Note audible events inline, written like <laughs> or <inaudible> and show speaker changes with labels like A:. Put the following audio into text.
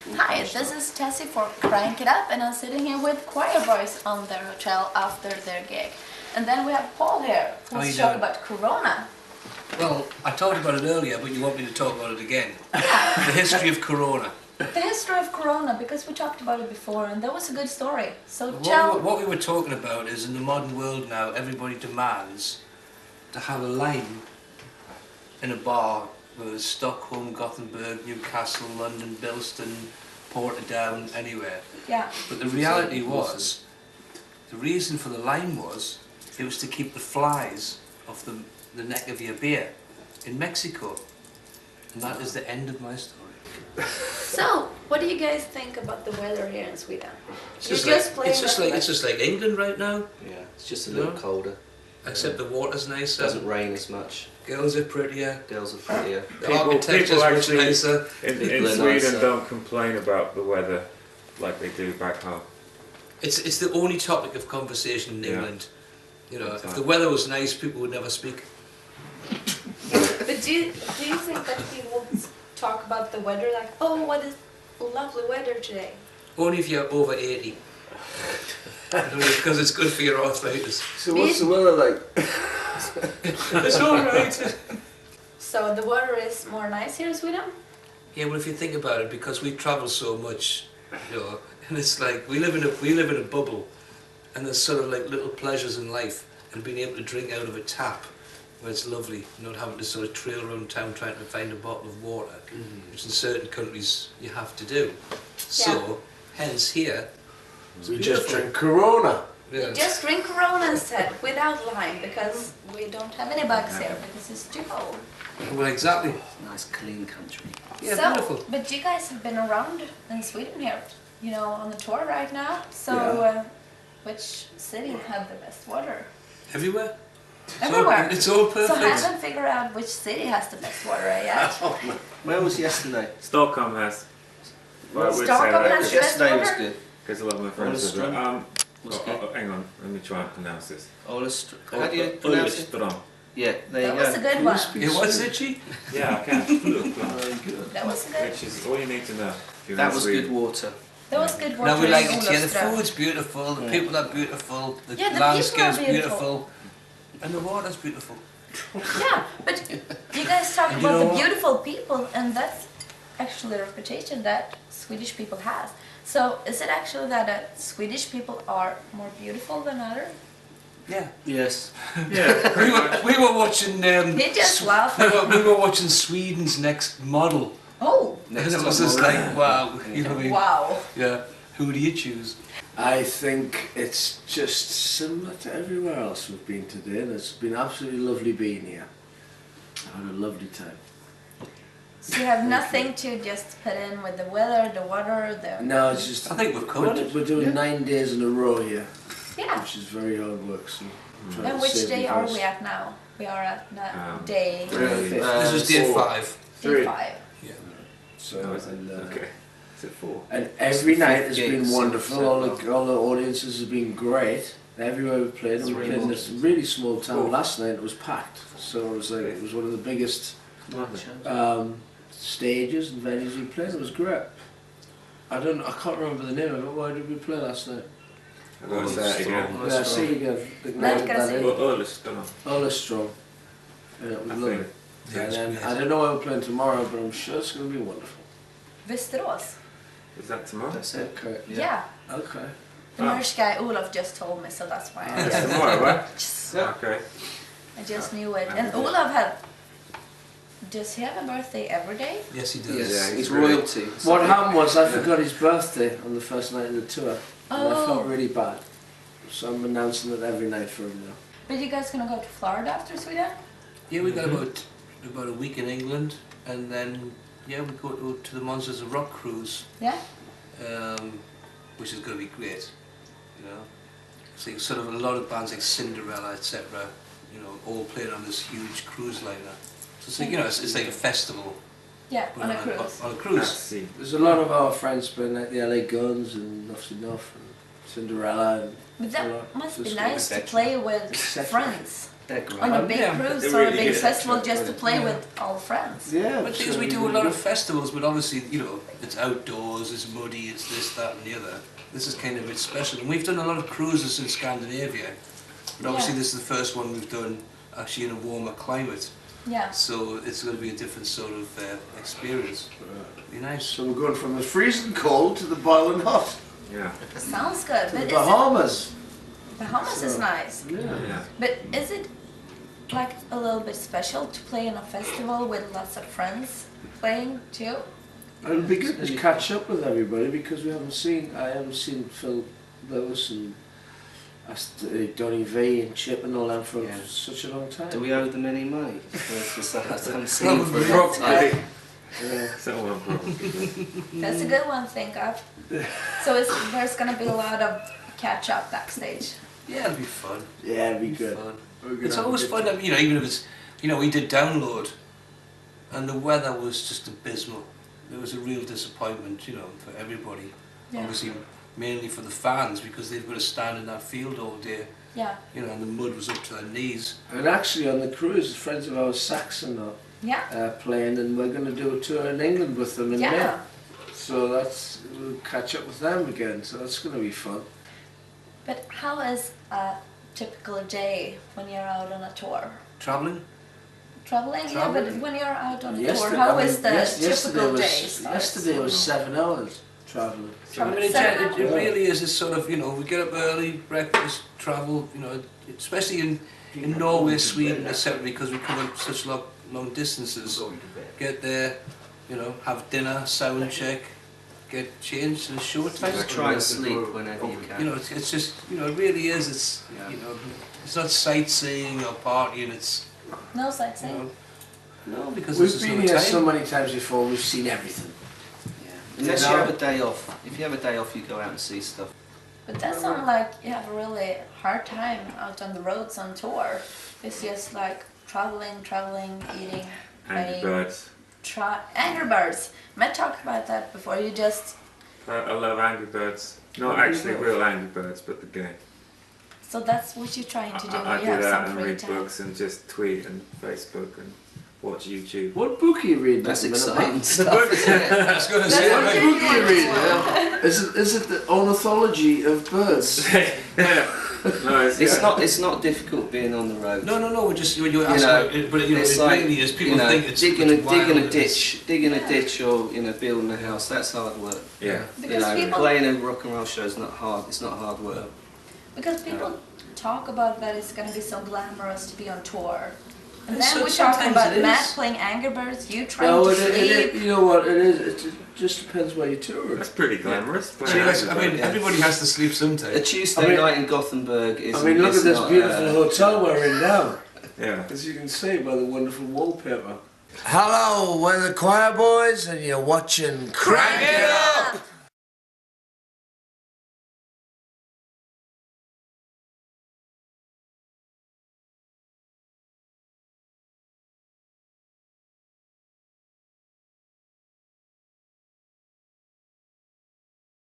A: This is Tessie for Crank It Up, and I'm sitting here with choir boys on their hotel after their gig. And then we have Paul here,
B: How you
A: who's talking
B: doing?
A: about
B: <laughs>
A: Corona.
B: Well, I talked about it earlier, but you want me to talk about it again. the history of Corona.
A: The history of Corona, because we talked about it before, and that was a good story. So
B: What,
A: tell.
B: we- what we were talking about is in the modern world now, everybody demands to have a line in a bar, whether it's Stockholm, Gothenburg, Newcastle, London, Bilston, Portadown, anywhere.
A: Yeah.
B: But the reality was, the reason for the line was, it was to keep the flies off the, the neck of your beer in Mexico. And that is the end of my story.
A: So, what do you guys think about the weather here in Sweden?
B: It's
A: You're
B: just,
A: just
B: like,
A: playing
B: it's just
A: with
B: like it's just like England right now,
C: Yeah, it's just a little
B: No?
C: colder.
B: except the water's nicer,
C: Doesn't rain as much.
B: girls are prettier,
C: Girls are prettier.
B: the
D: People-
B: architecture's
D: people
B: much
D: actually-
B: nicer.
D: In, in
C: People are
D: Sweden,
C: nicer.
D: don't complain about the weather like they do back home.
B: It's it's the only topic of conversation in
D: Yeah.
B: England. You know, if
D: Exactly.
B: the weather was nice, people would never speak.
A: But do you, do you think that people talk about the weather like, oh, what is lovely weather today?
B: Only if you're over
D: <laughs>
B: eighty, because it's good for your arthritis.
E: So
A: Me-
E: what's the weather like?
B: It's all
D: <laughs>
B: right.
A: So the weather is more nice here in Sweden?
B: Yeah, well, if you think about it, because we travel so much, you know, and it's like we live in a we live in a bubble, and there's sort of like little pleasures in life, and being able to drink out of a tap, where it's lovely, not having to sort of trail around town trying to find a bottle of water, which in certain countries you have to do. So, hence here,
E: We
B: just
E: just
B: drink
E: drink Corona.
B: yeah,
A: Just drink Corona instead, without lime, because we don't have any bugs here because it's too cold.
B: well, exactly,
C: Nice clean country.
B: yeah,
A: so,
B: beautiful.
A: but you guys have been around in Sweden here, you know, on the tour right now. So, uh, which city had the best water?
B: Everywhere, It's all-
A: Everywhere.
B: it's all
A: So I
B: perfect.
A: haven't figured out which city has the best water yet.
C: Where was yesterday?
D: Stockholm has. Well, I would say
A: Stockholm
D: that
A: has-
D: because-
C: yesterday was good.
D: because a lot of my friends live
C: Ulstrand.
D: there. Um,
C: What's
D: oh,
C: good?
D: oh, hang on, let me try and pronounce this.
C: Olestr-
D: Ul-
C: How do you pronounce it?
D: Ulstrand.
C: Yeah,
A: that
C: there you
A: was a
C: go.
A: good one.
B: Yeah, what's it, G?
D: Yeah, I can. <laughs> Ulstrand,
C: Very good.
A: That was good.
D: Which is all you need to know. if you're
C: That
D: in
C: was
D: Sweden.
C: good <laughs> water.
A: That was good water.
B: No, we like
A: in
B: it here. The
A: Olofström.
B: food's beautiful, the
C: Yeah.
B: people are beautiful, the
A: Yeah, the people are
B: landscape's
A: beautiful.
B: beautiful, and the water's beautiful.
A: Yeah, but you guys talk
B: And you
A: about
B: know
A: the
B: what?
A: beautiful people, and that's actually the reputation that Swedish people has. So is it actually that uh, Swedish people are more beautiful than other?
B: Yeah.
C: Yes.
D: Yeah,
B: We were, we were watching. Um,
A: He just
B: Sw- <laughs>
A: laughed.
B: We were, we were watching Sweden's next model,
A: Oh,
C: Next
B: and it was
C: time
B: just
C: I'll-
B: like, wow, you know what I mean?
A: wow.
B: Yeah. Who do you choose?
E: I think it's just similar to everywhere else we've been today, and it's been absolutely lovely being here. I had a lovely time.
A: So you have nothing to just put in with the weather, the water, the
E: No, it's just
B: I think we've
D: Oh,
E: we're,
B: covered
E: do-
B: it.
E: we're doing nine days in a row here,
A: yeah.
E: which is very hard work. So I'm
D: Hmm.
E: trying
A: And
E: to
A: which
E: save
A: day
E: the
A: are
E: best.
A: we at now? We are at na-
D: Um,
A: day
D: really.
E: Yeah.
B: This was day
E: four.
B: five.
E: three.
A: five.
E: So
D: Oh, is it?
E: and, uh,
D: Okay. Is it four?
E: And every night has
C: Yeah,
E: been
C: so-
E: wonderful.
C: so-
D: uh,
E: All the, all the audiences have been great. Everywhere we played, and we
C: Three
E: played in this really small town
D: Cool.
E: last night. It was packed, so it was like it was one of the biggest
C: Lovely.
E: um, stages and venues we played. It was great. I don't. I can't remember the name of it. Why did we play last night?
D: What was that again?
E: Yeah, I see it again. The-
A: Let's go
E: that
A: see.
E: name.
D: Ulstrand.
E: All is strong. Yeah, it was
D: I
E: lovely.
D: think.
B: Yeah,
E: And then,
B: it's-
E: I don't know where we're playing tomorrow, but I'm sure it's going to be wonderful.
A: Västerås.
D: Is that tomorrow?
C: That's it.
E: Okay.
A: Yeah.
C: Yeah.
E: Okay.
A: The
D: Wow.
A: Norse guy Olaf just told me, so that's why I
D: That's
A: just,
D: tomorrow, right?
A: just-
C: Yeah.
D: Okay.
A: I just knew it.
D: Yeah.
A: And Olaf had. Does he have a birthday every day?
B: Yes, he does.
C: Yes,
D: Yeah,
C: it's,
D: it's really-
C: royalty.
E: What happened was I forgot his birthday on the first night of the tour, and I
A: Oh.
E: felt really bad. So I'm announcing it every night for him now.
A: But you guys gonna go to Florida after Sweden?
B: Yeah, we got
A: Mm-hmm.
B: about about a week in England, and then yeah, we go to, to the Monsters of Rock cruise.
A: Yeah.
B: Um, which is going to be great, you know. So sort of a lot of bands like Cinderella, etc. You know, all playing on this huge cruise liner. So it's like you know, it's, it's like a festival
A: Yeah,
B: Uh, but
A: on a cruise.
B: On, a
D: Let's
B: cruise.
D: see.
E: There's a lot of our friends playing like the LA Guns and Nuff's Enough and Cinderella and
A: But
E: Florida.
A: that must be
E: Just
A: nice to
C: adventure.
A: play with
E: Exactly.
A: friends.
C: They're great.
A: on a big
B: Yeah.
A: cruise
D: It
A: or a
D: really
A: big
D: is,
A: festival
D: actually.
A: just to play
B: Yeah.
A: with all friends.
E: Yeah.
B: But things we
E: absolutely.
B: do a lot of festivals, but obviously, you know, it's outdoors, it's muddy, it's this, that, and the other. This is kind of a bit special, and we've done a lot of cruises in Scandinavia, but obviously
A: Yeah.
B: this is the first one we've done actually in a warmer climate,
A: Yeah.
B: so it's going to be a different sort of uh, experience. Be nice.
E: So we're going from the freezing cold to the boiling hot.
D: Yeah.
A: Sounds good. But
E: To the
A: is it,
E: Bahamas.
A: Bahamas is
E: So-
A: nice.
E: Yeah.
D: Yeah.
A: But is it like a little bit special to play in a festival with lots of friends playing too?
E: And it'd be good to catch up with everybody because we haven't seen, I haven't seen Phil Lewis and Ast- uh, Donny V and Chip and all them for
C: Yeah.
E: such a long time.
C: Do we owe them any money? That's just that I'm seeing for
B: Probably.
C: a long time.
E: Yeah.
D: Someone probably.
A: That's a good one to think of. So it's, there's gonna be a lot of catch up backstage.
B: Yeah, it'll be fun.
E: yeah, it'd be
B: It'll
E: good.
B: fun.
E: We're gonna
B: It's
E: have a
B: always
E: good
B: fun,
E: time.
B: I mean, you know, even if it's, you know, we did download and the weather was just abysmal. It was a real disappointment, you know, for everybody.
A: Yeah.
B: Obviously, mainly for the fans because they've got to stand in that field all day,
A: Yeah.
B: you know, and the mud was up to their knees.
E: And actually, on the cruise, friends of ours, Saxon, are
A: Yeah.
E: uh, playing, and we're going to do a tour in England with them in
A: Yeah.
E: May. So that's we'll catch up with them again. So that's going to be fun.
A: But how is a typical day when you're out on a tour?
B: Travelling?
A: Traveling, yeah, but
B: Traveling.
A: when you're out on a
E: Yester-
A: tour, how
E: I mean,
A: is the
E: yes- yesterday
A: typical
E: was,
A: day? starts?
E: Yesterday was seven hours travelling.
B: I mean, it,
A: Seven
B: it, it
E: hours.
B: really is this sort of, you know, we get up early, breakfast, travel, you know, especially in, in Norway, Sweden, etc., because we cover such long, long distances. Get there, you know, have dinner, sound check, get changed in a short time.
C: Just try and sleep whenever you
B: You know,
C: can.
B: it's, it's just, you know, it really is, it's,
C: Yeah.
B: you know, it's not sightseeing or partying, it's,
A: No
B: you
A: sightseeing.
B: know, no, because
E: We've
B: this is
E: been
B: no
E: here
B: time. <laughs>
E: so many times before. We've seen everything.
C: Yeah. Unless you
E: Yeah.
C: have a day off. If you have a day off, you go out and see stuff.
A: But that sounds like you have a really hard time out on the roads on tour. It's just like traveling, traveling, eating,
D: Angry
A: playing.
D: Birds.
A: Try Angry Birds. Matt talked about that before. You just
D: I, I love Angry Birds.
A: Oh,
D: Not
E: Angry
D: actually
E: Birds.
D: real Angry Birds, but the game.
A: so that's what you're
D: I,
A: trying to do.
D: I, I
A: you
D: do
A: have
D: that
A: some
D: and
A: free
D: read
A: time.
D: books and just tweet and Facebook and watch YouTube. <laughs>
E: What book are you reading?
C: That's
E: at the
C: exciting
E: minute, mate?
C: stuff, isn't it?
B: I was gonna
A: That's
B: say,
A: what
E: What
B: like,
A: you-
E: book are you reading? yeah? Is it is it the ornithology of birds?
D: yeah. No, it's,
C: It's not. It's not difficult being on the road.
B: No, no, no. We're just you're, you're
C: You
B: asking,
C: know,
B: it, but you know,
C: it's
B: it
C: like,
B: really is. People
C: you know,
B: think it's
C: digging
B: it's
C: a digging
B: wild,
C: a ditch, digging
A: Yeah.
C: a ditch, or you know, building a house. That's hard work.
D: Yeah.
A: Because
C: you know,
A: people-
C: playing a rock and roll show is not hard. It's not hard work.
A: Because people talk about that it's going to be so glamorous to be on tour. And
B: And
A: then
B: so-
A: we're talking
B: sometimes
A: about
B: it
A: Matt
B: is.
A: playing Angry Birds, you trying
E: <laughs> No,
A: to
E: it,
A: sleep.
E: it, it, you know what it is. It ju- just depends where you tour.
D: That's pretty glamorous.
B: So you guys, I
D: Angry
B: mean,
D: Birds.
B: everybody has to sleep
C: A
B: sometime.
C: Tuesday
E: I mean-
C: night in Gothenburg is. uh,
E: I mean, look at this beautiful hotel we're in now.
D: yeah.
E: As you can see by the wonderful wallpaper.
F: Hello, we're the choir boys, and you're watching Crank It Up!